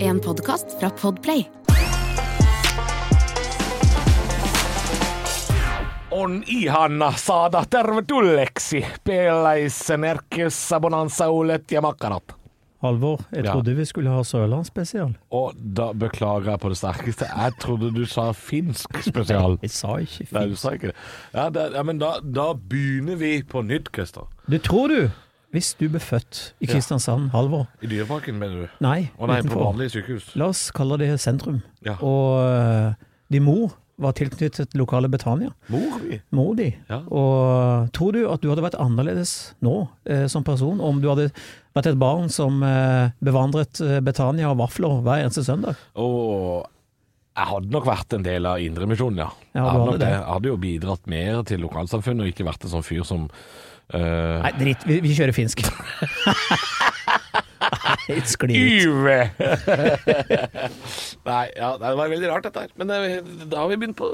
en podkast fra Podplay. On ihana saada tervetulleeksi Peleisenerkissä bonanza-ulet ja makkarat. Halvor, jeg Ja. trodde vi skulle ha Sørlandsspesial. Og da beklager jeg på det sterkeste. Jeg trodde du sa finsk spesial. Jeg sa ikke Nei, fint. du sa ikke det. Ja, da, ja, men da, da begynner vi på nytt, Christer. Du tror du? Hvis du ble født i Kristiansand, Halvor I Dyreparken, mener du? Nei, Å nei, på utenfor. vanlige sykehus. La oss kalle det sentrum. Ja. Og eh, din mor var tilknyttet lokale Betania. Mor mi? Mor di. Ja. Og eh, tror du at du hadde vært annerledes nå eh, som person om du hadde vært et barn som eh, bevandret eh, Betania og vafler hver eneste søndag? Og jeg hadde nok vært en del av Indremisjonen, ja. jeg Ja, du hadde hadde nok det. Jeg hadde jo bidratt mer til lokalsamfunnet og ikke vært en sånn fyr som eh, Nei, dritt. Vi, vi kjører finsk. Nei, skli ut. Yve! Nei, ja, det var veldig rart dette her. Men eh, da har vi begynt på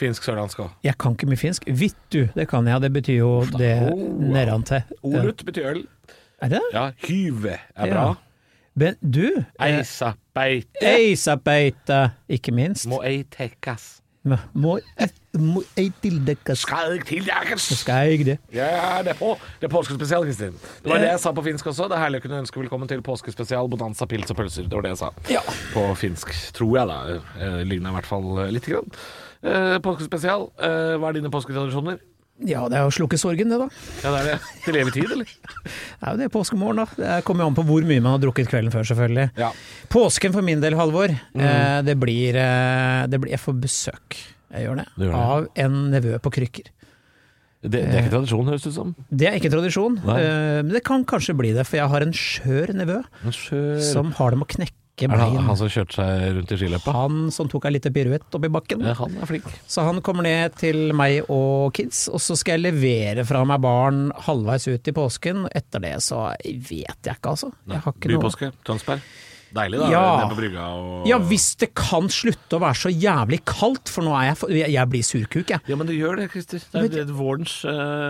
finsk sørlandsk òg. Jeg kan ikke mye finsk. Vittu, det kan jeg. Det betyr jo det Oh, wow. nedantil. Olut betyr øl. Er det? Ja, hyve er bra. Ja. Men du, eh, Eisa beite eisabeite, ikke minst. må ei tekkes. Må, må, må ei tildekkes. Skalk til jakes. Så skal jeg det. Ja, det er, på, det er påskespesial, Kristin. Det var det jeg sa på finsk også. Det er herlig å kunne ønske velkommen til påskespesial bonanza, pils og pølser. Det var det jeg sa Ja. på finsk, tror jeg da. Eh, Ligner i hvert fall eh, lite grann. Eh, påskespesial, eh, hva er dine påsketradisjoner? Ja, det er å slukke sorgen, det, da. Ja, det er det. Til evig tid, eller? Det er jo det påskemorgen, da. Det kommer jo an på hvor mye man har drukket kvelden før, selvfølgelig. Ja. Påsken for min del, Halvor, Mm. eh, det, blir, eh, det blir Jeg får besøk, jeg gjør det, Du gjør det. av en nevø på krykker. Det, det er ikke tradisjon, høres det ut som. Det er ikke tradisjon, Nei. eh, men det kan kanskje bli det, for jeg har en skjør nevø Som som har det med å knekke er det han, bein. han som kjørte seg rundt i skiløpet? Han som tok ei lita piruett oppi bakken. Ja, han er flink. Så eh, han kommer ned til meg og kids, og så skal jeg levere fra meg barn halvveis ut i påsken. Etter det så vet jeg ikke, altså. Jeg har ikke noe Bypåske, Tønsberg. Deilig, da. Ja. Nede på brygga og Ja, hvis det kan slutte å være så jævlig kaldt, for nå er jeg for... Jeg jeg blir surkuk, jeg. Ja, men det gjør det, Christer. Det er, det er vårens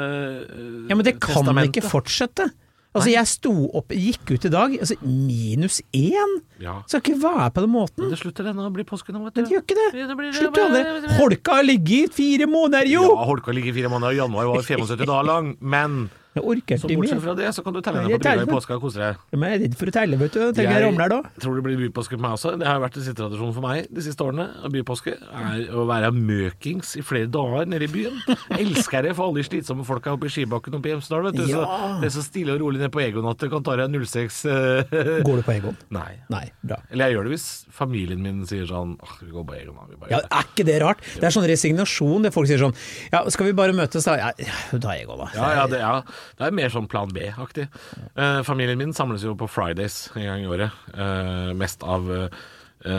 eh, Ja, men det kan testament, ikke da. fortsette. Altså, jeg sto opp, gikk ut i dag, altså minus én! Ja. Skal ikke være på den måten. Men det slutter ennå å bli påske nå, vet Men det gjør ikke det. Ja, det blir- Slutt aldri. Holka har ligget i fire måneder, jo! Ja, Holka ligger i fire måneder, og januar var 75 dager lang, men Jeg orker så ikke bortsett mer. fra det, så kan du telle Nei, deg på jeg brygga i teller. påska og kose deg. Men Jeg er redd for å telle, vet du. Jeg tenker jeg ramler da. tror det blir bypåske på meg også. Det har vært en sittetradisjon for meg de siste årene. og Bypåske er å være møkings i flere dager nede i byen. Elsker det for alle de slitsomme folka oppe i skibakken oppe i Hemsedal, vet du. Så Ja. det er så stille og rolig nede på Egonattet. Kan ta deg en 06 eh, Går du på Egon? Nei. Nei, bra. Eller jeg gjør det hvis familien min sier sånn Åh, vi går på Egon, da. Vi bare Ja, gjør det. Er ikke det rart? Det er sånn resignasjon. det Folk sier sånn Ja, skal vi bare møtes, da? Ja, ja, da jeg går, da. Ja, ja, det, ja, det er mer sånn plan B-aktig. Eh, familien min samles jo på Fridays en gang i året. Eh, mest av eh,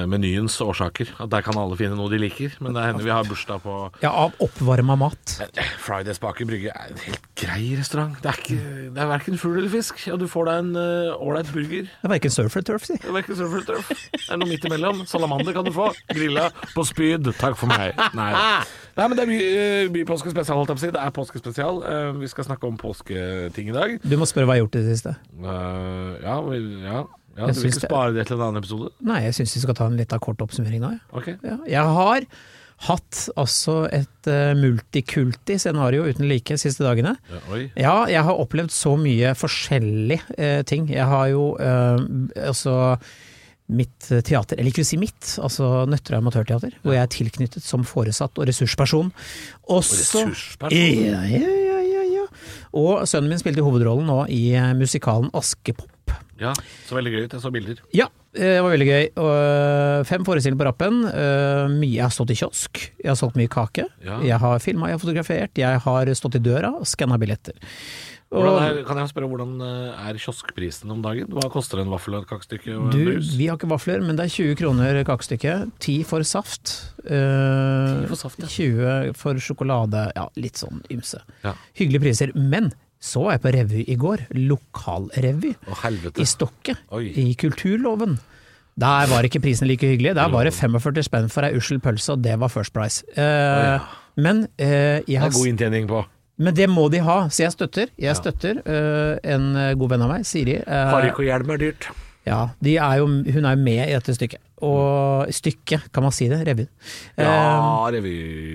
menyens årsaker. At der kan alle finne noe de liker. Men det hender vi har bursdag på Ja, Av oppvarma mat. Fridays Baker Brygge er en helt grei restaurant. Det er, ikke, det er verken fugl eller fisk. Og du får deg en eh, ålreit burger. Det er verken surf eller turf, si. Det er verken surfer eller tørf. Det er noe midt imellom. Salamander kan du få. Grilla på spyd. Takk for meg. Nei, Nei men det er by, eh, bypåskespesial, holdt jeg på å si. Det er påskespesial. Eh, vi skal snakke om påsketing i dag. Du må spørre hva jeg har gjort i det siste. Eh, ja, vel, ja. ja Jeg Du vil syns ikke det- spare det til en annen episode? Nei, jeg syns vi skal ta en lita kort oppsummering nå, jeg. Ok. Ja. Jeg har hatt altså et eh, multikulti-scenario uten like siste dagene. Ja, oi. Ja, jeg har opplevd så mye forskjellige eh, ting. Jeg har jo eh, altså mitt eh, teater, eller ikke å si mitt, altså Nøtterøy Amatørteater, hvor jeg er tilknyttet som foresatt og ressursperson. Også, Ressursperson. ja, ja, ja, ja, ja. Og sønnen min spilte hovedrollen nå i eh, musikalen Askepop. Ja, så veldig gøy ut. Jeg så bilder. Ja, eh, det var veldig gøy. Og, eh, Fem forestillinger på rappen. Eh, Mye Jeg har stått i kiosk, jeg har solgt mye kake. Ja. Jeg har filma, jeg har fotografert, jeg har stått i døra og skanna billetter. Og- Hvordan er, kan jeg spørre, hvordan eh, er kioskprisen om dagen? Hva koster en vaffel og et kakestykke og en Du, brus? vi har ikke vafler, men det er 20 kroner kakestykket. 10 for saft. eh, 10 for saft, ja. 20 for sjokolade. Ja, litt sånn ymse. Ja. Hyggelige priser. Men så var jeg på revy i går. Lokalrevy. Å, helvete. I Stokke. Oi. I Kulturloven. Der var ikke prisene like hyggelige. Der var det 45 spenn for ei ussel pølse, og det var First Price. Eh, Men eh, jeg Det har er god inntjening på. men det må de ha, så jeg støtter. Jeg støtter øh, en øh, eh, god venn av meg, Siri. øh, Parykk og hjelm er dyrt. Ja, de er jo, hun er jo med i dette stykket. Og stykket, kan man si det? Revyen. Eh, Ja, revy...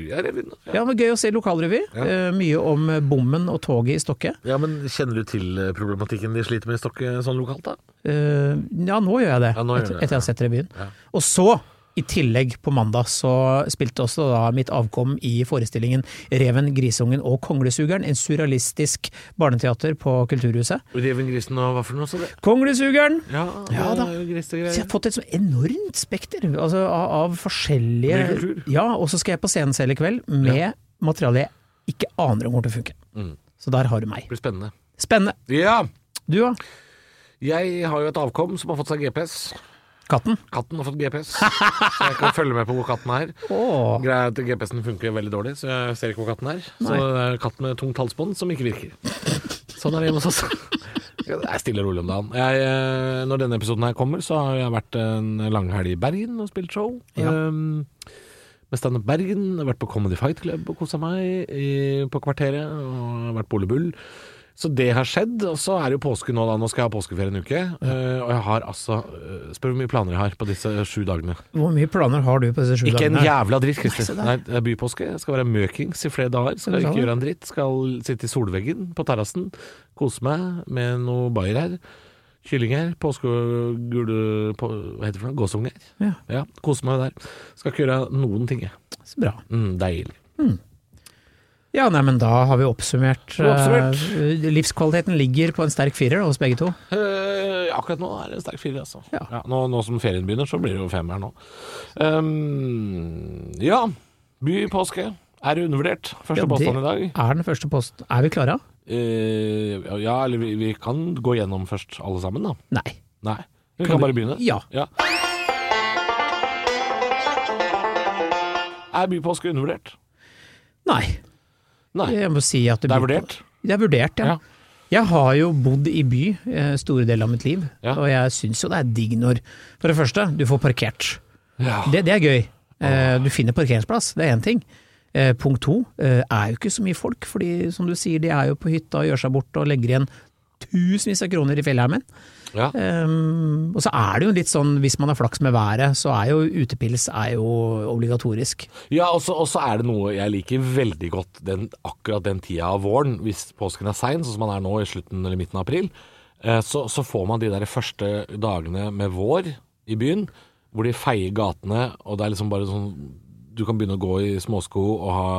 Ja, revyen. Ja. ja, men Gøy å se lokalrevy. Ja. Eh, mye om bommen og toget i Stokke. ja, men kjenner du til eh, problematikken de sliter med i Stokke sånn lokalt, da? Eh, ja, nå gjør jeg det, Ja, nå gjør etter, du det, etter jeg har sett revyen. Ja. Og så, i tillegg på mandag, så spilte også da mitt avkom i forestillingen 'Reven, grisungen og konglesugeren', en surrealistisk barneteater på Kulturhuset. Reven, grisen og hva for noe? Så det? Konglesugeren! Ja, Ja, det da. er jo gris og Så jeg greier. har fått et så enormt spekter altså, av, av forskjellige Mye kultur. Ja, og så skal jeg på scenen selv i kveld med materiale jeg ikke aner om kommer til å funke. Mm. Så der har du meg. Det blir spennende. Spennende. Ja! Du da? Jeg har jo et avkom som har fått seg GPS. Katten? Katten har fått GPS, så jeg kan følge med på hvor katten er. Åh. Greia er at GPS-en funker veldig dårlig, så jeg ser ikke hvor katten er. Så Nei. det er en katt med tungt halsbånd som ikke virker. Sånn er det hjemme hos oss. Det er stille og rolig om dagen. Jeg, eh, når denne episoden her kommer, så har jeg vært en lang helg i Bergen og spilt show. Ja. Um, med Standup Bergen. Jeg har vært på Comedy Fight Club og kosa meg i, på Kvarteret. Og jeg har vært på Ole Bull. Så det har skjedd. Og så er det jo påske nå, da. Nå skal jeg ha påskeferie en uke. Eh, og jeg har altså eh, Spør hvor mye planer jeg har på disse sju dagene. Hvor mye planer har du på disse sju Ikke en dagene? her? jævla dritt, Nei, Christer. se der. Nei, det er bypåske. Jeg skal være møkings i flere dager. Skal du ikke ha det? gjøre en dritt. Skal sitte i solveggen på terrassen. Kose meg med noe bayer her. Kylling her. Påskegule på, Hva heter det for noe? Gåsunger. Ja. Ja, kose meg der. Skal ikke gjøre noen ting, jeg. Så bra. Mm, deilig. Ja, nei, men da har vi oppsummert. Vi har oppsummert. Eh, livskvaliteten ligger på en sterk firer hos begge to. Eh, akkurat nå er det en sterk firer, altså. Ja. nå, nå som ferien begynner, så blir det jo fem her nå. Um, ja. Bypåske. Er det undervurdert? Første Ja, det- påstand i dag. Er den første posten Er vi klare? Eh, ja, eller vi, vi kan gå gjennom først alle sammen, da. Nei. Nei. Vi Kan kan du- bare begynne. Ja. Er bypåske undervurdert? Nei. Nei. Jeg må si at Det er vurdert. Det er vurdert, ja. Ja. Jeg har jo bodd i by eh, store deler av mitt liv, Ja. og jeg syns jo det er digg når For det første, du får parkert. Ja. Det, det er gøy. Eh, du finner parkeringsplass, det er én ting. Eh, punkt to, eh, er jo ikke så mye folk, fordi som du sier, de er jo på hytta og gjør seg bort og legger igjen tusenvis av kroner i fjellheimen. Ja. Ehm, og så er det jo litt sånn, hvis man har flaks med været, så er jo utepils er jo obligatorisk. Ja, og så og så er det noe jeg liker veldig godt den, akkurat den tida av våren, hvis påsken er sein, sånn som man er nå i slutten eller midten av april. eh, Så, så får man de der første dagene med vår i byen, hvor de feier gatene, og det er liksom bare sånn Du kan begynne å gå i småsko og ha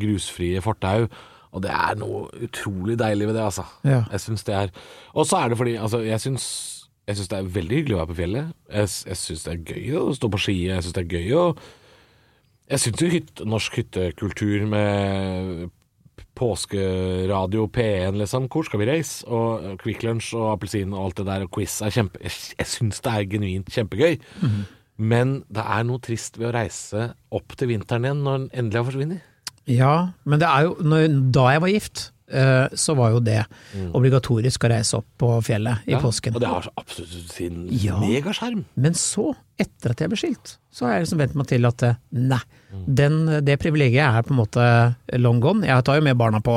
grusfrie fortau. Og det er noe utrolig deilig ved det, altså. Ja. Jeg syns det er Og så er det fordi altså, jeg syns jeg syns det er veldig hyggelig å være på fjellet. Jeg, s- jeg syns det er gøy å stå på ski. Jeg syns det er gøy å jeg syns jo hytt, norsk hyttekultur med påskeradio, P1, liksom, hvor skal vi reise? Og Quick Lunch og appelsin og alt det der, og quiz er kjempe... Jeg, jeg syns det er genuint kjempegøy. Mhm. Men det er noe trist ved å reise opp til vinteren igjen når den endelig har forsvunnet. Ja, men det er jo, når, da jeg var gift, eh, så var jo det obligatorisk å reise opp på fjellet Mm. i Ja, påsken. Og det har så absolutt sin Ja. megaskjerm. Men så, etter at jeg ble skilt, så har jeg liksom vent meg til at eh, nei, Mm. den, det privilegiet er på en måte long gone. Jeg tar jo med barna på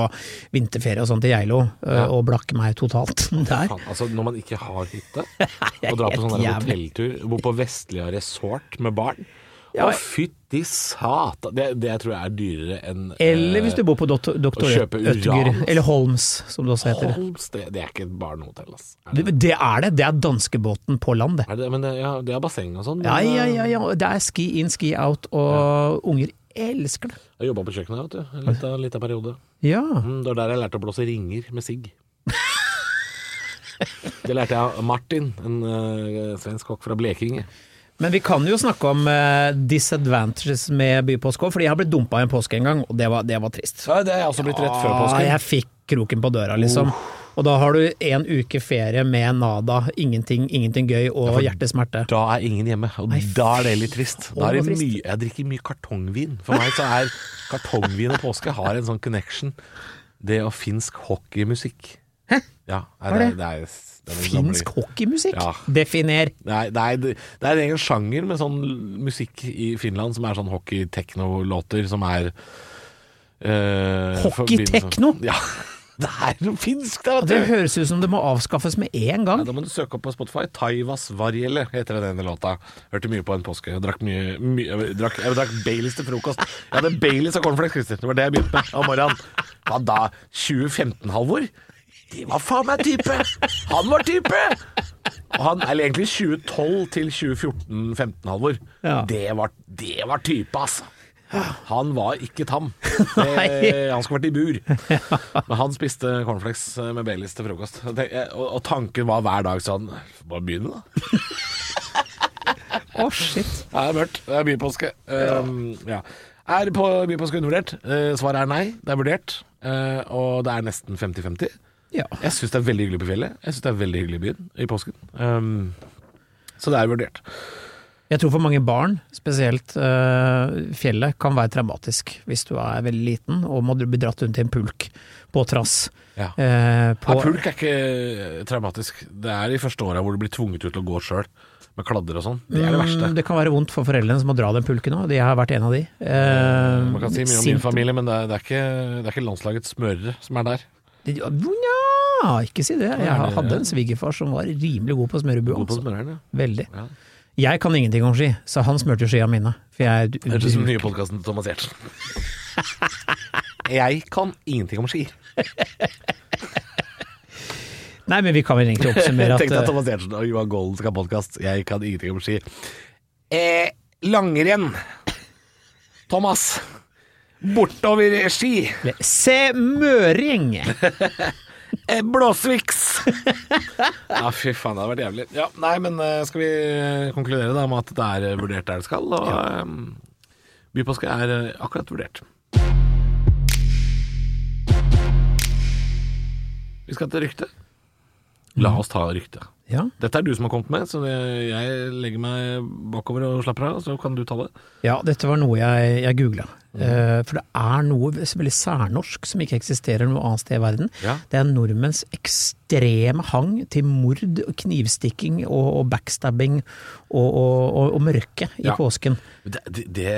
vinterferie og sånn til Geilo, eh, Ja. og blakker meg totalt der. Faen, altså når man ikke har hytte, er og drar på helt sånn der jævlig. hotelltur, bor på Vestlia resort med barn. Ja. Å, fytti satan! Det, det tror jeg er dyrere enn Eller eh, hvis du bor på doktor, doktor å kjøpe Ødger, uran. eller Holms, som det også heter. Holmes, det, det er ikke et barnehotell, ass. Er Det, det, det er det, det er danskebåten på land, det. er det, men det, ja, det er basseng og sånn. men, Ja, ja, eh, ja, ja. Det er ski in, ski out, og unger elsker det. Jeg jobba på kjøkkenet, vet du. En lita, lita periode. Ja. Mm, det var der jeg lærte å blåse ringer med sigg. Det lærte jeg av Martin, en eh, svensk kokk fra Blekinge. Men vi kan jo snakke om eh, disadvantages med bypåske òg, fordi jeg har blitt dumpa i en påske en gang, og det var, det var trist. Så det er jeg også blitt rett før Ah, påsken. jeg fikk kroken på døra, liksom. Og da har du en uke ferie med nada, ingenting, ingenting gøy og hjertesmerte. Da er ingen hjemme, og da er det litt trist. Da er Å, det trist. mye, jeg drikker mye kartongvin. For meg så er kartongvin og påske har en sånn connection. Det og finsk hockeymusikk. Ja, nei, Hva er det? det er, det er en gammel- Finsk hockeymusikk? Ja. Definer! Nei, nei, det det er en egen sjanger med sånn musikk i Finland som er sånn hockey-tekno-låter som er eh, Hockey-tekno? forbindelse- Ja. Det er noe finsk, da! Det vet du. høres ut som det må avskaffes med en gang. Ja, da må du søke opp på Spotify. Taivas Varjele heter den ene låta. Hørte mye på en påske. Jeg drakk mye, mye jeg, drakk, jeg drakk Baileys til frokost. Jeg hadde Baileys og cornflakes, Christer. Det var det jeg begynte med om morgenen. Hva da? 2015, Halvor? Det var faen meg type! Han var type! Og han, eller egentlig 2012 til 2014-15, Halvor. Ja. Det, var, det var type, altså. Han var ikke tam. Nei. Det, han skulle vært i bur. Men han spiste cornflakes eh, med Baileys til frokost. Og, tenk- og, og tanken var hver dag sånn Bare begynn, da. Å, shit. Det er mørkt. Det er bypåske. Um, ja. Er på bypåske vurdert? Eh, svaret er nei. Det er vurdert. Eh, og det er nesten 50-50. Ja. Jeg syns det er veldig hyggelig på fjellet. Jeg syns det er veldig hyggelig i byen i påsken. Um, så det er vurdert. Jeg tror for mange barn, spesielt eh, fjellet, kan være traumatisk hvis du er veldig liten og må bli dratt rundt i en pulk på trass. Ja. Eh, på, Ja, pulk er ikke eh, traumatisk. Det er de første åra hvor du blir tvunget ut til å gå sjøl med kladder og sånn. Det er det verste. Mm, det kan være vondt for foreldrene som må dra den pulken òg, jeg har vært en av de. Eh, Man kan si mye om sint- min familie, men det er, det er, ikke, det er ikke landslagets smørere som er der. Nja, ikke si det. Jeg hadde en svigerfar som var rimelig god på smørebua. God på Altså. smøreren, ja. Veldig. Ja. Jeg kan ingenting om ski, så han smurte jo skia mine. For jeg Høres ut som den nye podkasten til Thomas Giertsen. Jeg kan ingenting om ski. Nei, men vi kan vel egentlig oppsummere Tenk at deg at eh, Thomas Giertsen og Johan Golden skal ha podkast. Jeg kan ingenting om ski. Eh, langrenn. Thomas. Bortover ski. Se møring! Eh, Blåsviks. ja, fy faen, det hadde vært jævlig. Ja, nei, men eh, skal vi eh, konkludere da med at det er eh, vurdert der det skal, og eh, bypåske er eh, akkurat vurdert. Vi skal til rykte. La oss ta rykte. Ja, Dette er du som har kommet med, så det, jeg legger meg bakover og slapper av, så kan du ta det. ja dette var noe jeg, jeg googla. Mm. for det er noe veldig særnorsk som ikke eksisterer noe annet sted i verden. Ja. Det er nordmenns ekstreme hang til mord, og knivstikking og, og backstabbing og, og, og, og mørke i Ja. påsken. Det, det, det,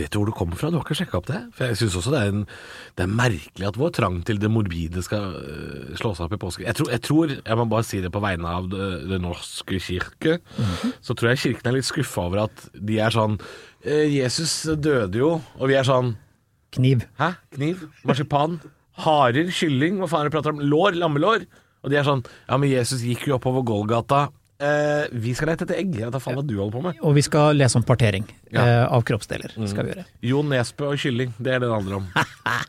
vet du hvor det kommer fra? Du har ikke sjekka opp det? For jeg syns også det er, en, det er merkelig at vår trang til det morbide skal øh, slå seg opp i påske. Jeg tror, jeg tror, jeg må bare si det på vegne av det, det norske kirke, så tror jeg kirken er litt skuffa over at de er sånn «Eh, Jesus døde jo, og vi er sånn Kniv. Hæ? Kniv? Marsipan? Harer? Kylling? Hva faen er det du prater om? Lår? Lammelår? Og de er sånn Ja, men Jesus gikk jo oppover Golgata. Eh, vi skal lete etter egg. Jeg vet da faen hva du holder på med. Og vi skal lese om partering Ja. Mm. eh, av kroppsdeler. skal vi gjøre. Jon Nesbø og kylling, det er det det handler om.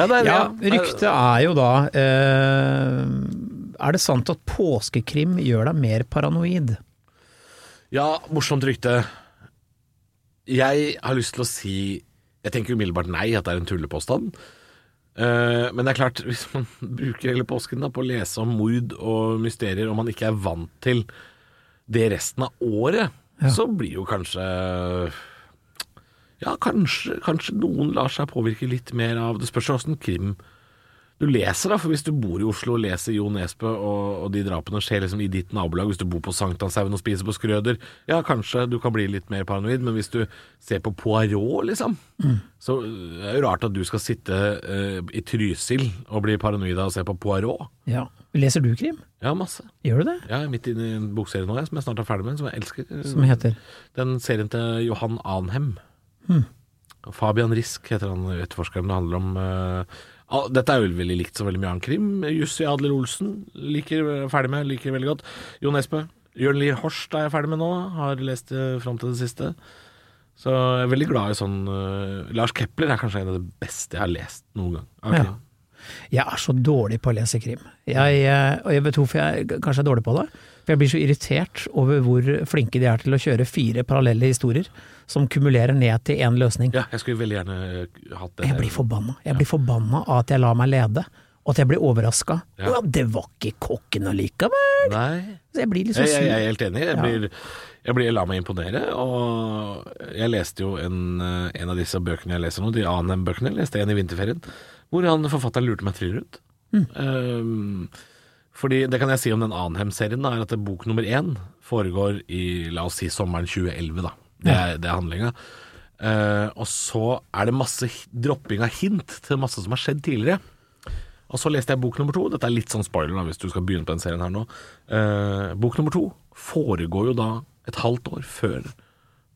Ja, det er, Ja, det. Ryktet er jo da eh, Er det sant at påskekrim gjør deg mer paranoid? ja, morsomt rykte. Jeg har lyst til å si Jeg tenker umiddelbart nei, at det er en tullepåstand. Eh, men det er klart, hvis man bruker hele påsken da, på å lese om mord og mysterier, og man ikke er vant til det resten av året, så blir jo kanskje Ja, kanskje, kanskje noen lar seg påvirke litt mer av Det spørs jo åssen krim du leser, da. For hvis du bor i Oslo og leser Jo Nesbø, og, og de drapene skjer liksom i ditt nabolag, hvis du bor på Sankthanshaugen og spiser på Skrøder, ja, kanskje du kan bli litt mer paranoid, men hvis du ser på Poirot, liksom, så øh, er det jo rart at du skal sitte øh, i Trysil og bli paranoid av å se på Poirot. Ja. Leser du krim? Ja, masse. Gjør du det? Jeg er midt inne i en bokserie nå, jeg, som jeg snart er ferdig med, som jeg elsker. øh, Som heter Den serien til Johan Anhem. Hm. Fabian Risk heter han etterforskeren. Det handler om eh, al- Dette er jo veldig likt så veldig mye annen krim. Jussi Adler Olsen liker jeg ferdig med, liker jeg veldig godt. Jon Espe. Jørn Lier Horst er jeg ferdig med nå. Har lest eh, fram til det siste. Så jeg er veldig glad i sånn eh, Lars Kepler er kanskje en av det beste jeg har lest noen gang. av Ja. krim. Jeg er så dårlig på å lese krim. Jeg, eh, og jeg vet hvorfor jeg g- kanskje er dårlig på det. For jeg blir så irritert over hvor flinke de er til å kjøre fire parallelle historier som kumulerer ned til én løsning. ja, jeg skulle veldig gjerne eh, hatt det. Jeg blir forbanna. Jeg blir forbanna av at jeg lar meg lede, og at jeg blir overraska. Ja. Ja. Det var ikke kokken allikevel! Nei. Så jeg blir liksom Jeg, jeg, jeg sur. er helt enig. Jeg, Ja. blir, jeg, blir, jeg lar meg imponere. Og jeg leste jo en, eh, en av disse bøkene jeg leser nå, de Anhem-bøkene. Jeg leste en i vinterferien, hvor han forfatteren lurte meg trill rundt. Mm. Um, fordi Det kan jeg si om den Anhem-serien, da, er at bok nummer én foregår i la oss si sommeren 2011. da Det er, Ehm, det er handlinga. Eh, og så er det masse hi- dropping av hint til masse som har skjedd tidligere. Og så leste jeg bok nummer to. Dette er litt sånn spoiler da, hvis du skal begynne på den serien her nå. Eh, bok nummer to foregår jo da et halvt år før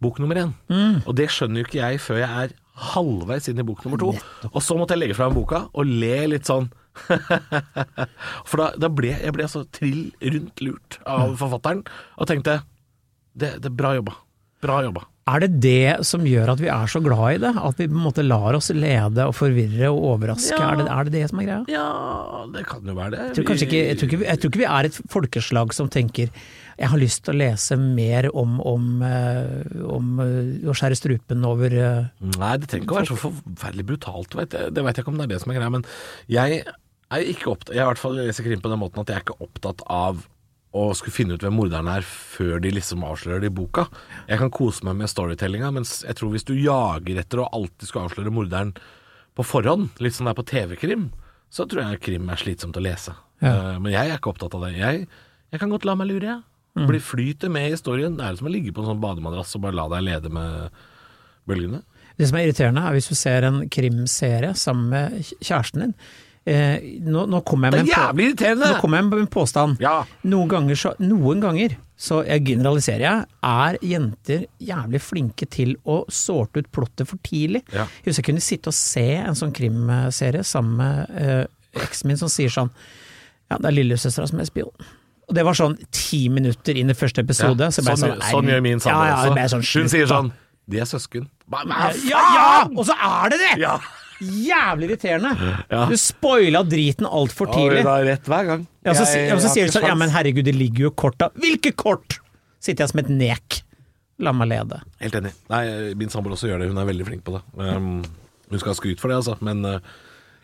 bok nummer én. Mm. Og det skjønner jo ikke jeg før jeg er halvveis inn i bok nummer to. Og så måtte jeg legge fra meg boka og le litt sånn. For da, da ble jeg ble så trill rundt lurt Mm. av forfatteren, og tenkte det, det er bra jobba. Bra jobba. Er det det som gjør at vi er så glad i det? At vi på en måte lar oss lede og forvirre og overraske? Ja. Er, det, er det det som er greia? Ja, det kan jo være det. Jeg tror, kanskje ikke, jeg, tror ikke, vi- jeg tror ikke vi er et folkeslag som tenker jeg har lyst til å lese mer om, om, eh, om eh, å skjære strupen over eh, Nei, det trenger ikke å være så forferdelig brutalt, vet jeg. Det veit jeg ikke om det er det som er greia, men jeg er ikke opptatt Jeg er i hvert fall leser krim på den måten at jeg er ikke opptatt av å skulle finne ut hvem morderen er før de liksom avslører det i boka. Jeg kan kose meg med storytellinga, mens jeg tror hvis du jager etter å alltid skulle avsløre morderen på forhånd, litt som det er på TV-krim, så tror jeg krim er slitsomt å lese. Eh, Men jeg er ikke opptatt av det. Jeg, jeg kan godt la meg lure, jeg. Bli flyter med i historien. Det er som å ligge på en sånn bademadrass og bare la deg lede med bølgene. Det som er irriterende, er hvis du ser en krimserie sammen med kj- kjæresten din. Eh, nå, nå kommer Det jeg med er en på- jævlig irriterende! Nå kommer jeg med en påstand. Ja. Noen ganger, så, noen ganger, så jeg generaliserer jeg, er jenter jævlig flinke til å sorte ut plottet for tidlig. Ja. Jeg husker jeg kunne sitte og se en sånn krimserie sammen med eh, eksen min som sier sånn Ja, det er lillesøstera som er spion. Og det var sånn ti minutter inn i første episode. Ja, så ble jeg sånn, nei, sånn gjør min samboer ja, ja, det ble jeg også. sånn, Hun slutt sier da. sånn De er søsken. Hva, hva faen? Ja, ja! Og så er det det! Ja. Jævlig irriterende. Ja. Du spoila driten altfor tidlig. har rett hver gang. Ja, så, si- Jeg ja, så har sier du ikke sånn Ja, sjans. men herregud, det ligger jo kort da. Hvilke kort?! Sitter jeg som et nek. La meg lede. Helt enig. Nei, min samboer også gjør det. Hun er veldig flink på det. Um, hun skal ha skryt for det, altså. Men uh,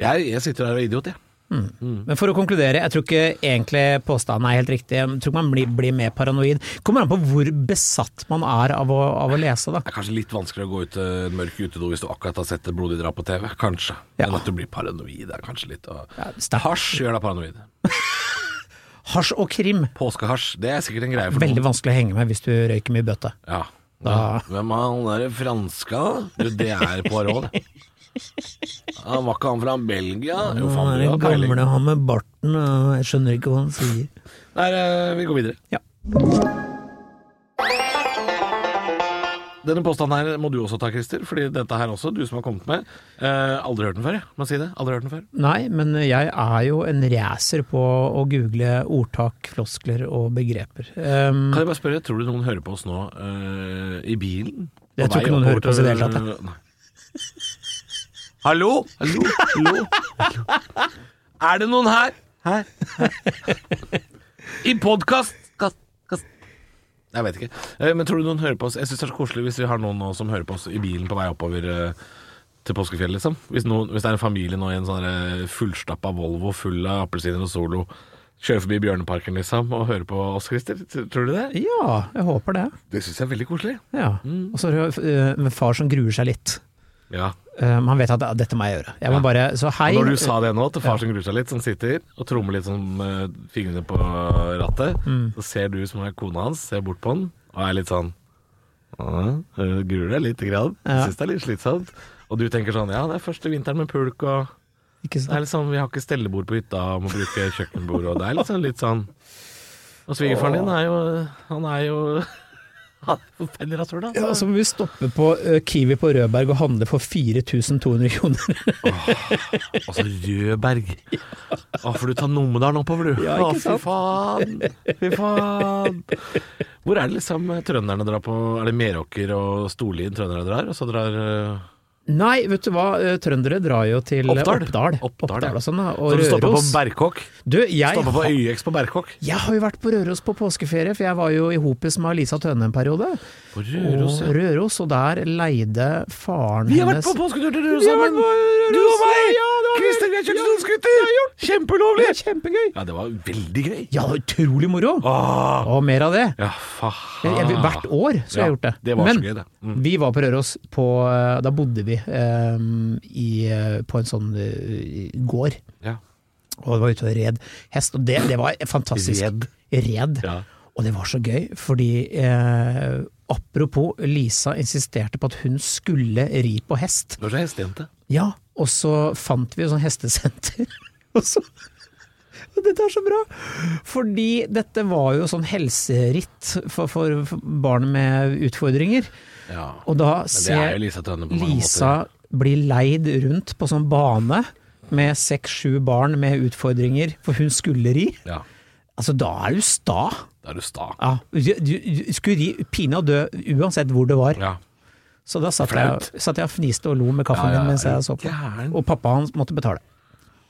jeg, jeg sitter her og er idiot, jeg. Mm. Men for å konkludere, jeg tror ikke egentlig påstanden er helt riktig. Jeg tror man blir, blir mer paranoid. Kommer an på hvor besatt man er av å, av å lese, da. Det er kanskje litt vanskeligere å gå ut til en mørk utedo hvis du akkurat har sett et blodig drap på TV. Kanskje. Ja. Men at du blir paranoid er kanskje litt å sterkt. Hasj gjør deg paranoid. Hasj og krim, Påskehasj, det er sikkert en greie for veldig noen. vanskelig å henge med hvis du røyker mye bøtte. Ja. Da- Hvem er han derre franska? da? Du, det er Poirot. det. Han var ikke han fra Belgia? Jo, faen, du har peiling. han med barten, jeg skjønner ikke hva han sier. Nei, eh, vi går videre. Ja. Denne påstanden her må du også ta, Christer, fordi dette her også, du som har kommet med. Eh, aldri hørt den før, jeg. Må si det. Aldri hørt den før. Nei, men jeg er jo en racer på å google ordtak, floskler og begreper. Um, Kan jeg bare spørre, tror du noen hører på oss nå eh, i bilen? Jeg På tror vei ikke oppover noen hører på oss i det til- hele tatt, Nei. Hallo? Hallo? Hallo? Er det noen her? Her? I podkast? Jeg vet ikke. Eh, Men tror du noen hører på oss? Jeg syns det er så koselig hvis vi har noen nå som hører på oss i bilen på vei oppover eh, til påskefjellet, liksom. Hvis, noen, hvis det er en familie nå i en sånn eh, fullstappa Volvo full av appelsiner og Solo, kjører forbi Bjørneparken, liksom, og hører på oss, Christer. T- Tror du det? ja, jeg håper det. Det syns jeg er veldig koselig. Ja. Mm. Og så er det jo, eh, med far som gruer seg litt. Ja. Um, han vet at ja, dette må jeg gjøre. Jeg må Ja. bare, så hei. Og når du sa det nå, til far som gruer seg litt, som sitter og trommer litt sånn med fingrene på rattet, så ser du som er kona hans, ser bort på han, og er litt sånn «Åh, øh, Gruer deg lite grann. Ja. Syns det er litt slitsomt. Og du tenker sånn Ja, det er første vinteren med pulk, og Ikke det er sant? litt sånn, vi har ikke stellebord på hytta, og må bruke kjøkkenbord, og det er liksom litt sånn Og svigerfaren din er jo Han er jo Han er forferdelig rasshøl, da. Ja, så må vi stoppe på eh, Kiwi på Rødberg og handle for 4200 kroner. Altså Rødberg. Å, for du tar Numedalen oppover, du. Ja, Å, ikke Fy sant? faen. Fy faen. Hvor er det liksom eh, trønderne drar på? Er det Meråker og Storlien trønderne drar? Og så drar eh, Nei, vet du hva, eh, trøndere drar jo til eh, Oppdal? Oppdal, Oppdal, ja. og sånn, da, Så og du stopper på Røros. Berkåk? Du, jeg Stopper på har- YX på Berkåk? Jeg har jo vært på Røros på påskeferie, for jeg var jo i hopis med Lisa Tønne en periode. På Røros, og ja. Røros, og der leide faren Vi har hennes vært på påsketur til Røros Vi har vært sammen! på Røros, Du og meg! ja, det har vi. Christer, vi har kjørt snøscooter! Kjempeulovlig! Det er kjempegøy! Ja, det var veldig gøy. Ja, det var utrolig moro! Åh. Og mer av det. Ja, Jeg- faen. jeg- Hvert år så Ah. har jeg Ja, gjort det. det var så Men gøy, det. Mm. vi var på Røros, på, eh, da bodde vi eh, i, eh, på en sånn eh, gård. Ja. Og det var ute og red hest, og det, det var fantastisk. Red. Red. Ja. Og det var så gøy, fordi eh, apropos, Lisa insisterte på at hun skulle ri på hest. Du er så hestejente. Ja, og så fant vi jo sånn hestesenter. Og så og Dette er så bra! Fordi dette var jo sånn helseritt for, for, for barn med utfordringer. Ja. Og da Men det er ser jo Lisa Tønne på mange Lisa bli leid rundt på sånn bane med seks-sju barn med utfordringer, for hun skulle ri. måter. Ja. Altså, da er du sta! Da er du sta. Ja, du, du, du skulle ri pinadø dø uansett hvor det var. Ja. Så da satt jeg, Flaut. satt jeg og fniste og lo med kaffen Ja, ja, min mens er jeg du så på. gæren? Og pappa hans måtte betale.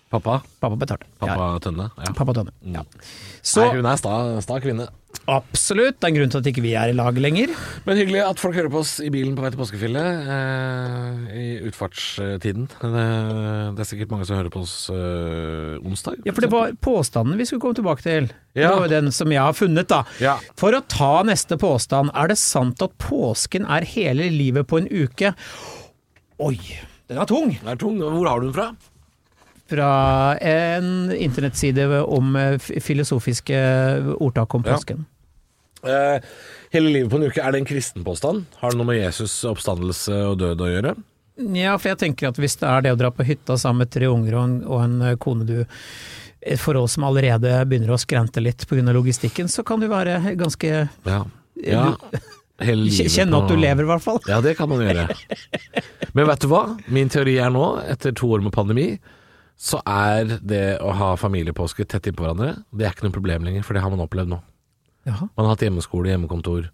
Pappa? Pappa betalte. Pappa Ja, Tønne? Ja. pappa Tønne. Ja. Så Nei, hun er sta, sta kvinne. absolutt, det er en grunn til at ikke vi er i lag lenger. Men hyggelig at folk hører på oss i bilen på vei til påskefjellet eh, i utfartstiden. Det, det er sikkert mange som hører på oss eh, onsdag. Ja, for det var påstanden vi skulle komme tilbake til. Ja. Det var jo den som jeg har funnet, da. Ja. For å ta neste påstand, er det sant at påsken er hele livet på en uke? Oi, den er tung! Den er tung. Hvor har du den fra? Fra en internettside om eh, f- filosofiske ordtak om Ja. påsken. Eh, hele livet på en uke, er det en kristen påstand? Har det noe med Jesus oppstandelse og død å gjøre? Ja, for jeg tenker at hvis det er det å dra på hytta sammen med tre unger og en, og en eh, kone du eh, for oss som allerede begynner å skrente litt pga. logistikken, så kan du være ganske Ja. Eh, ja. Hele livet Kjenne at på- du lever, i hvert fall. Ja, det kan man gjøre. Men vet du hva? Min teori er nå, etter to år med pandemi, så er det å ha familiepåske tett innpå hverandre, det er ikke noe problem lenger, for det har man opplevd nå. Jaha. Man har hatt hjemmeskole, hjemmekontor.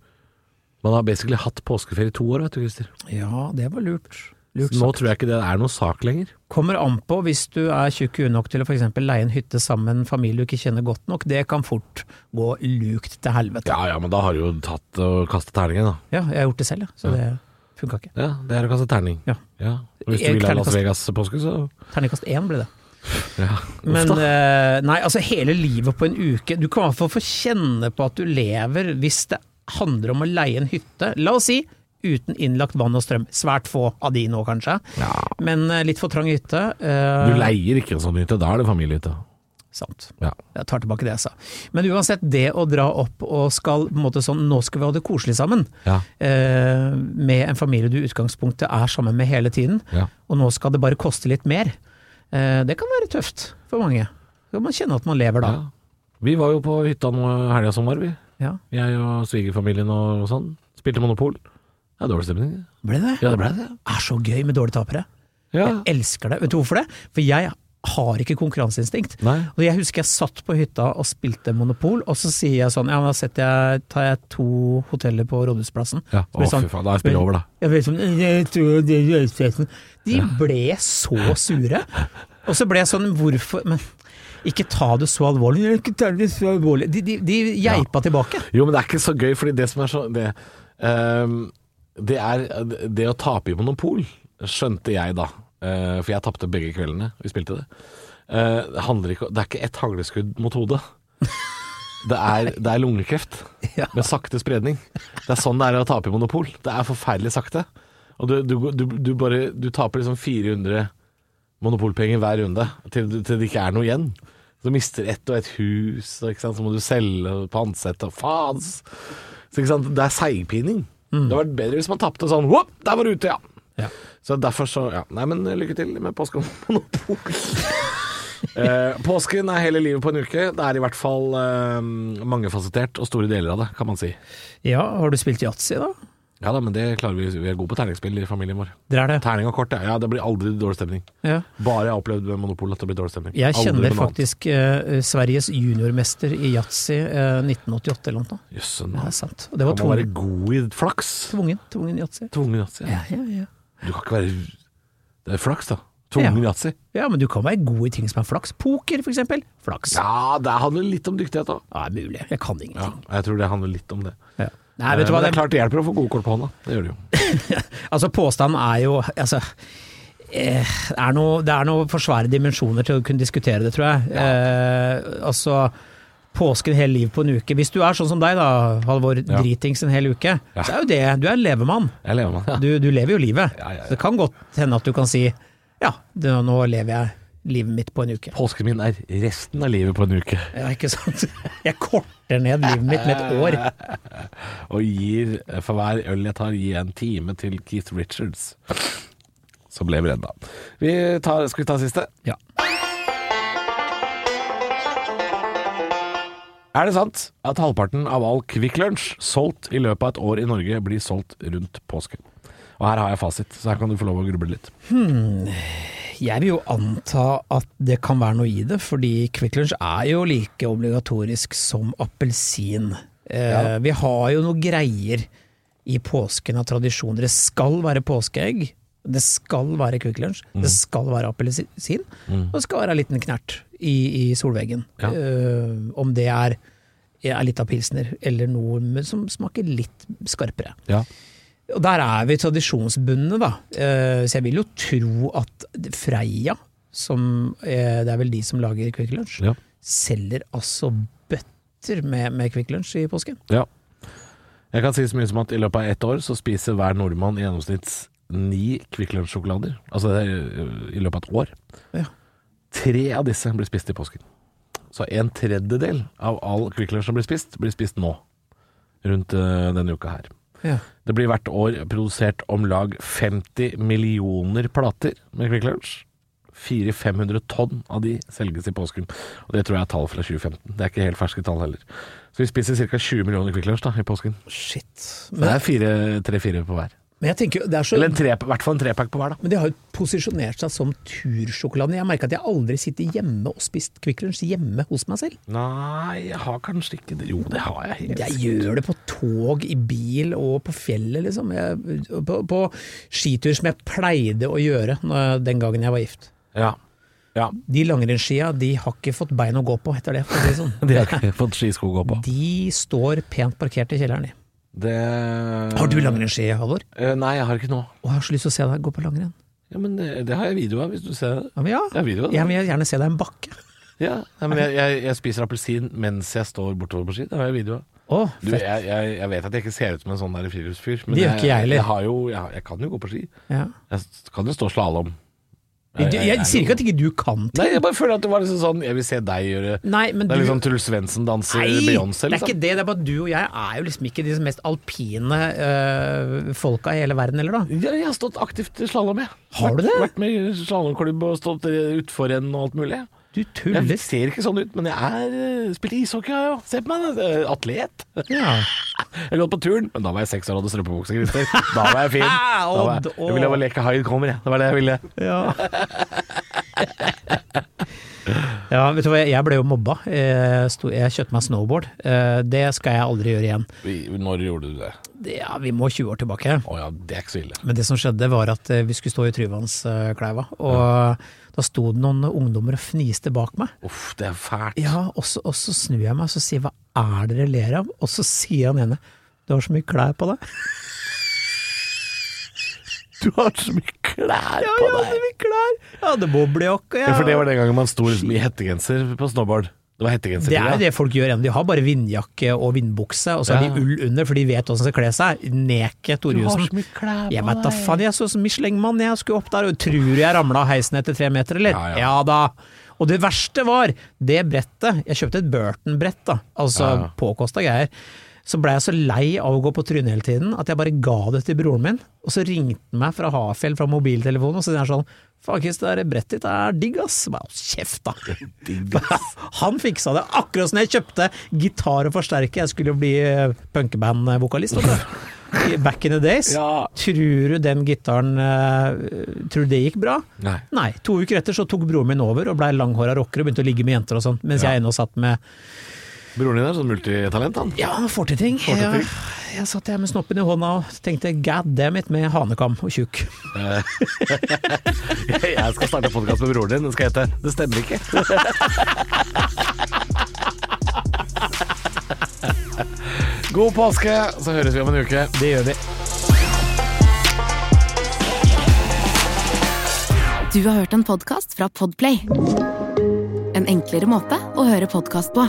Man har basically hatt påskeferie i to år, vet du, Christer. Ja, det var lurt. lurt Nå sagt. tror jeg ikke det er noen sak lenger. Kommer an på hvis du er tjukk i huet nok til å f.eks. leie en hytte sammen med en familie du ikke kjenner godt nok. Det kan fort gå lukt til helvete. Ja ja, men da har du jo tatt og kastet terningen, da. Ja, jeg har gjort det selv, ja, så det funka ikke. Ja, det er å kaste terning. Ja. Og hvis du Jeg vil ha kan Las kaste- Vegas-påske, så Terningkast én ble det. ja. Men Uff da. eh, nei, altså hele livet på en uke. Du kan i hvert fall få kjenne på at du lever hvis det handler om å leie en hytte. La oss si uten innlagt vann og strøm. Svært få av de nå, kanskje. Ja. Men eh, litt for trang hytte. eh, Du leier ikke en sånn hytte, da er det familiehytte. Sant. Ja. Jeg tar tilbake det jeg sa. Men uansett, det å dra opp og skal på en måte sånn Nå skal vi ha det koselig sammen. Ja. Eh, med en familie du i utgangspunktet er sammen med hele tiden. Ja. Og nå skal det bare koste litt mer. Eh, det kan være tøft for mange. Så kan man kjenne at man lever da. Ja. Vi var jo på hytta nå helga som var, vi. Ja. Jeg og svigerfamilien og sånn. Spilte Monopol. Det er dårlig stemning. det. Ble det? Ja, det ble det. Er så gøy med dårlige tapere. Ja. Jeg elsker det. Vet du hvorfor det? For jeg har ikke konkurranseinstinkt. Nei. Og jeg husker jeg satt på hytta og spilte Monopol, og så sier jeg sånn Ja, men da setter jeg, tar jeg to hoteller på Rådhusplassen. Ja. Så blir Å, det sånn, fy faen. Da er spillet over, da. Jeg ble sånn, «Jeg tror det er Rådhusplassen». De ble så sure. Og så ble jeg sånn Hvorfor Men ikke ta det så alvorlig. «Jeg Ikke ta det så alvorlig. De, de, de geipa tilbake. Jo, men det er ikke så gøy, fordi det som er så Det, ehm, det er det å tape i Monopol, skjønte jeg da. Eh, for jeg tapte begge kveldene vi spilte det. Eh, det, handler ikke, det er ikke ett hagleskudd mot hodet. Det er, det er lungekreft Ja. med sakte spredning. Det er sånn det er å tape i Monopol. Det er forferdelig sakte. Og du, du, du, du, bare, du taper liksom 400 monopolpenger hver runde til, til det ikke er noe igjen. Så du mister ett og ett hus, og ikke sant? så må du selge og pantsette og faen. Så ikke sant? Det er seigpining. Det hadde vært bedre hvis man tapte sånn Whoop, der var du ute, ja! Mm. Ja. Så derfor så ja. Nei, men lykke til med påsken og monopol. Eh, påsken er hele livet på en uke. Det er i hvert fall eh, mangefasettert, og store deler av det, kan man si. Ja, har du spilt yatzy, da? Ja da, men det klarer vi. Vi er gode på terningspill i familien vår. Det er det. Terning og kort, ja. ja det blir aldri dårlig stemning. Ja. Bare jeg har opplevd med Monopol at det blir dårlig stemning. Jeg Aldri kjenner med noe annet. faktisk eh, Sveriges juniormester i yatzy eh, 1988 eller noe. sånt. Jøssen, Det da. er sant. Og det var Kan man være tvungen, god i flaks? tvungen, tvungen yatzy. Tvungen yatzy. Ja. Ja, ja, ja. Du kan ikke være Det er flaks, da. Tvungen yatzy. ja, men du kan være god i ting som er flaks. Poker, for eksempel. Flaks. Ja, Ja, det handler litt om dyktighet òg. det er mulig. Jeg kan Ja, ingenting. jeg tror det handler litt om det. Eh, Ja. Nei, vet du hva. Men det Det, er klart det hjelper å få gode kort på hånda. Det gjør det jo. altså, påstanden er jo Altså. eh, Det er noe- det er noe for svære dimensjoner til å kunne diskutere det, tror jeg. Eh, altså, påsken hele livet på en uke. Hvis du er sånn som deg, da, Halvor, Ja. dritings en hel uke, Ja. så er jo det Du er en levemann. Jeg lever med det. Du, du lever jo livet. Ja, ja, ja. Så det kan godt hende at du kan si ja, det, nå lever jeg livet mitt på en uke. Påsken min er resten av livet på en uke, Ja, ikke sant? Jeg korter ned livet mitt med et år. og gir eh, for hver øl jeg tar, gir jeg en time til Keith Richards. Som lever ennå. Vi tar, skal vi ta siste? Ja. Er det sant at halvparten av all Kvikk Lunsj solgt i løpet av et år i Norge blir solgt rundt påske? Og her har jeg fasit, så her kan du få lov å gruble litt. Jeg vil jo anta at det kan være noe i det, fordi Kvikk Lunsj er jo like obligatorisk som appelsin. Eh, Ja. Vi har jo noe greier i påsken av tradisjon. Det skal være påskeegg, det skal være Kvikk Lunsj, Mm. det skal være appelsin, og det skal være en liten knert i, i solveggen. Ja. Eh, om det er, er litt av pilsner, eller noe med- som smaker litt skarpere. Ja. Og der er vi tradisjonsbundne, da. Eh, Så jeg vil jo tro at Freia, som eh, det er vel de som lager Quick Lunch, Ja. selger altså bøtter med, med Quick Lunch i påsken. ja. Jeg kan si så mye som at i løpet av ett år så spiser hver nordmann i gjennomsnitt ni Kvikk Lunsj-sjokolader. Altså det er øh, i løpet av et år. Ja. Tre av disse blir spist i påsken. Så en tredjedel av all Kvikk Lunsj som blir spist, blir spist nå. Rundt øh, denne uka her. Ja. Det blir hvert år produsert om lag 50 millioner plater med Kvikk Lunsj. 400-500 tonn av de selges i påsken. Og Det tror jeg er tall fra 2015. Det er ikke helt ferske tall heller. Så vi spiser ca. 20 millioner Kvikk Lunsj da, i påsken. Shit. Så det Men, er fire, tre-fire på hver. men jeg tenker jo, det er så Eller en tre- i hvert fall en trepack på hver, da. men de har jo posisjonert seg som tursjokolade. Jeg merker at jeg aldri sitter hjemme og spist Quick Lunch hjemme hos meg selv. Nei, jeg har kanskje ikke det. Jo, det har jeg. helt Jeg sikkert. gjør det på tog, i bil og på fjellet, liksom. Jeg, på, på skitur som jeg pleide å gjøre når, den gangen jeg var gift. Ja. ja. De langrennsskia de har ikke fått bein å gå på etter det. For å si det sånn. De har ikke fått skisko å gå på. De står pent parkert i kjelleren. de. Det Har du langrennsski, Halvor? Eh, Nei, jeg har ikke nå. Og jeg har så lyst til å se deg gå på langrenn. Ja, Men det, det har jeg video av, hvis du ser det. Ja, men ja. Jeg har video av det. Jeg vil gjerne se deg i en bakke. Ja, nei, men jeg, jeg, jeg spiser appelsin mens jeg står bortover på ski. Det har jeg video av. Å, Du, fett. jeg, jeg, jeg vet at jeg ikke ser ut som en sånn der friluftsfyr, men Det gjør ikke jeg heller. jeg, har jo, jeg, har- jeg kan jo gå på ski. Ja. Jeg s- kan jo stå slalåm. Jeg, jeg sier ikke at ikke du kan ting. Nei, jeg bare føler at det var liksom sånn Jeg vil se deg gjøre Nei, men Det du er liksom Truls Svendsen danser Nei, Beyoncé, det er liksom. ikke det. Det er bare at du og jeg er jo liksom ikke de mest alpine øh, folka i hele verden, eller da? Ja, jeg har stått aktivt i slalåm, jeg. Har du det? Vært, vært med i slalåmklubb og stått utfor en og alt mulig. Du Jeg tuller. ser ikke sånn ut, men jeg er eh, Spilte ishockey, jeg òg. Se på meg, da. Eh, atlet. Ja. Jeg gått på turn, men da var jeg seks år og hadde strømpebukse. Christer. Da var jeg fin. Da var jeg, Ah, Odd, jeg ville bare leke Hyde Kommer, jeg. Det var det jeg ville. Ja. ja, vet du hva, jeg ble jo mobba. Jeg, sto, jeg kjøpte meg snowboard. Eh, Det skal jeg aldri gjøre igjen. Når gjorde du det? Det- Ja, vi må 20 år tilbake. Å ja, det er ikke så ille. Men det som skjedde var at eh, vi skulle stå i Tryvannskleiva, og da sto det noen ungdommer og fniste bak meg. Uff, det er fælt. Ja, og så, og så snur jeg meg og så sier hva er det dere ler av? Og så sier han ene du har så mye klær på deg. Du har så mye klær Ja, jeg hadde mye klær! Jeg hadde boblejakke. Ja, for det jeg- var den gangen man sto liksom i hettegenser på snowboard. Det var hettegenser. Det er jo det folk gjør ennå. De har bare vindjakke og vindbukse, og så har Ja. de ull under, for de vet hvordan de skal kle seg. Neke Torjussen. mye klær Jeg vet da faen, jeg så ut som Michelin-mann jeg skulle opp der, og tror du jeg ramla av heisen etter tre meter, eller? Ja, ja. Ja, da. Og det verste var, det brettet Jeg kjøpte et Burton-brett, da, altså Ja, ja. påkosta greier. Så blei jeg så lei av å gå på trynet hele tiden at jeg bare ga det til broren min. Og så ringte han meg fra Hafjell fra mobiltelefonen, og så sier han sånn Faen, Chris, det der brettet ditt er digg, ass. Jeg Bare, «Hold kjeft, da. Han fiksa det akkurat som jeg kjøpte gitar og forsterker. Jeg skulle jo bli eh, punkeband-vokalist. vet du. I Back in the days. Ja. Tror du den gitaren eh, Tror du det gikk bra? Nei. Nei. To uker etter så tok broren min over og blei langhåra rocker og begynte å ligge med jenter og sånn, mens Ja. jeg ennå satt med Broren din er sånn multitalent, han. Ja, han får til ting. Får til ting. Jeg, jeg satt der med snoppen i hånda og tenkte god damn it med hanekam og tjukk. Jeg skal starte podkast med broren din. Den skal hete 'Det stemmer ikke'. God påske, så høres vi om en uke. Det gjør vi. Du har hørt en podcast fra Podplay En enklere måte å høre podcast på